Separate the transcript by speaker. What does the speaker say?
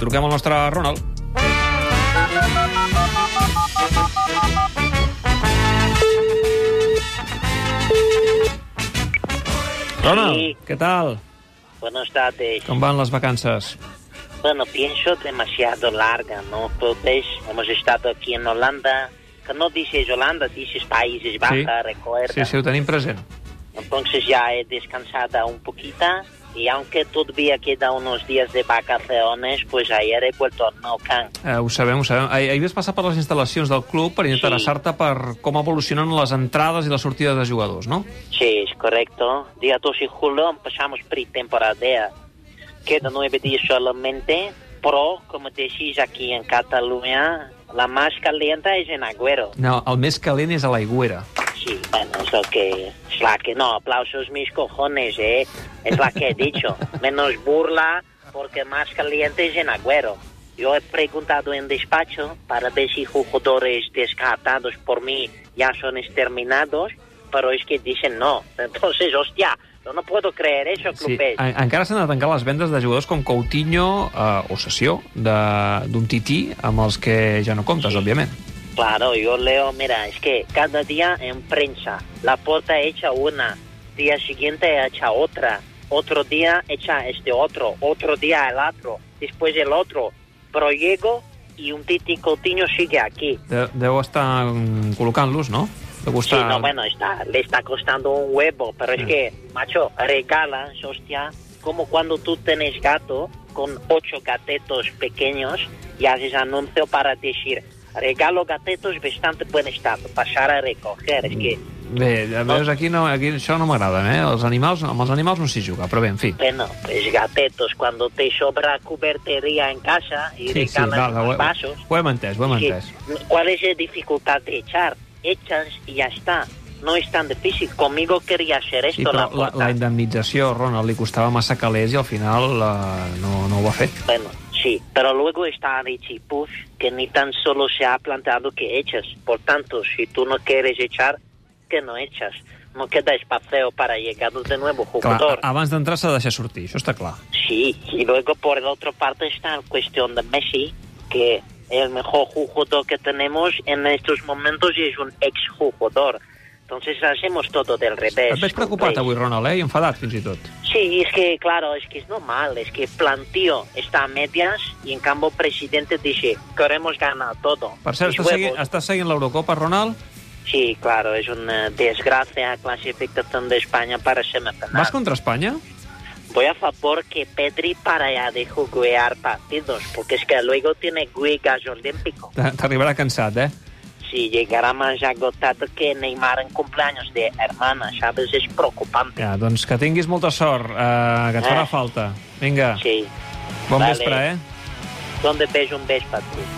Speaker 1: Truquem al nostre Ronald. Ronald,
Speaker 2: Sí.
Speaker 1: què tal?
Speaker 2: Buenas tardes.
Speaker 1: Com van les vacances?
Speaker 2: Bueno, pienso demasiado larga, ¿no? Entonces, hemos estado aquí en Holanda, que no dices Holanda, dices Países Bajos, recuerda.
Speaker 1: sí, sí, ho tenim present.
Speaker 2: Entonces ya he descansado un poquito y aunque todavía queda unos días de vacaciones, pues ayer he vuelto a Naucan.
Speaker 1: Eh, ho sabem, ho sabem. Ahir, ahir vas passar per les instal·lacions del club per interessar-te per com evolucionen les entrades i les sortides de jugadors, no?
Speaker 2: Sí, es correcto. Día 2 de julio empezamos pretemporada. Quedan nueve días solamente, pero como decís aquí en Cataluña, la más caliente es en Agüero.
Speaker 1: No, el més calent és a l'aigüera.
Speaker 2: Sí, bueno, es lo que... Es la que no, aplausos mis cojones, ¿eh? Es la que he dicho. Menos burla, porque más caliente es en Agüero. Yo he preguntado en despacho para ver si jugadores descartados por mí ya son exterminados, pero es que dicen no. Entonces, hostia, yo no puedo creer eso,
Speaker 1: Sí,
Speaker 2: clubes.
Speaker 1: en, encara s'han de tancar les vendes de jugadors com Coutinho eh, o Sessió, de- d'un tití amb els que ja no comptes, òbviament.
Speaker 2: Claro, yo leo, mira, es que cada día en prensa, la puerta echa una, día siguiente echa otra, otro día echa este otro, otro día el otro, después el otro, pero llego y un Titi Coutinho sigue aquí.
Speaker 1: De, deu estar mm, col·locant-los, no? Deu
Speaker 2: Sí,
Speaker 1: estar...
Speaker 2: no, bueno, está, le está costando un huevo, pero es que, macho, regalas, hostia, como cuando tú tenés gato con ocho gatetos pequeños y haces anuncio para decir, regalo gatetos bastante buen estado, pasar a recoger, es que,
Speaker 1: Bé, ja veus, aquí, no, aquí això no m'agrada, eh? Els animals, amb els animals no s'hi juga, però bé, en fi.
Speaker 2: bueno, pues gatetos, cuando te sobra cubertería en casa y regalas
Speaker 1: ho,
Speaker 2: unos vasos,
Speaker 1: ho hem entès, ho hem
Speaker 2: que-
Speaker 1: entès.
Speaker 2: ¿cuál es la dificultad de echar? Echas y ya está. No es tan difícil. Conmigo quería hacer esto.
Speaker 1: Sí, però
Speaker 2: la
Speaker 1: la,
Speaker 2: puta.
Speaker 1: la indemnització, Ronald, li costava massa calés i al final eh, no, no ho va fer.
Speaker 2: Bueno, sí, pero luego está Richie Push, que ni tan solo se ha planteado que echas. Por tanto, si tú no quieres echar, que no echas. No queda espacio para llegar de nuevo
Speaker 1: Clar,
Speaker 2: jugador.
Speaker 1: a- abans d'entrar s'ha de deixar sortir, això està clar.
Speaker 2: Sí, y luego por la otra parte está la cuestión de Messi, que el mejor jugador que tenemos en estos momentos es un exjugador. Entonces hacemos todo del revés.
Speaker 1: Et veig preocupat avui, Ronald, eh? i enfadat fins i tot.
Speaker 2: Sí, es que claro, es que es normal, es que planteo está a medias y en cambio el presidente dice, queremos ganar todo.
Speaker 1: Per cert,
Speaker 2: Mis
Speaker 1: estàs seguint,
Speaker 2: huevos.
Speaker 1: estàs seguint l'Eurocopa, Ronald?
Speaker 2: Sí, claro, es una desgracia clasificación de España para semifinal.
Speaker 1: Vas contra Espanya?
Speaker 2: Voy a favor que Pedri para ya de jugar partidos, porque es que luego tiene huelgas olímpicos.
Speaker 1: T- T'arribarà cansat, eh?
Speaker 2: Si llegará más agotado que Neymar en cumpleaños de hermana, ¿sabes? Es preocupante.
Speaker 1: Ja, doncs que tinguis molta sort, eh, que et farà
Speaker 2: Eh.
Speaker 1: falta. Vinga,
Speaker 2: Sí.
Speaker 1: bon
Speaker 2: vale.
Speaker 1: vespre, eh?
Speaker 2: ¿Dónde ves un beso para ti?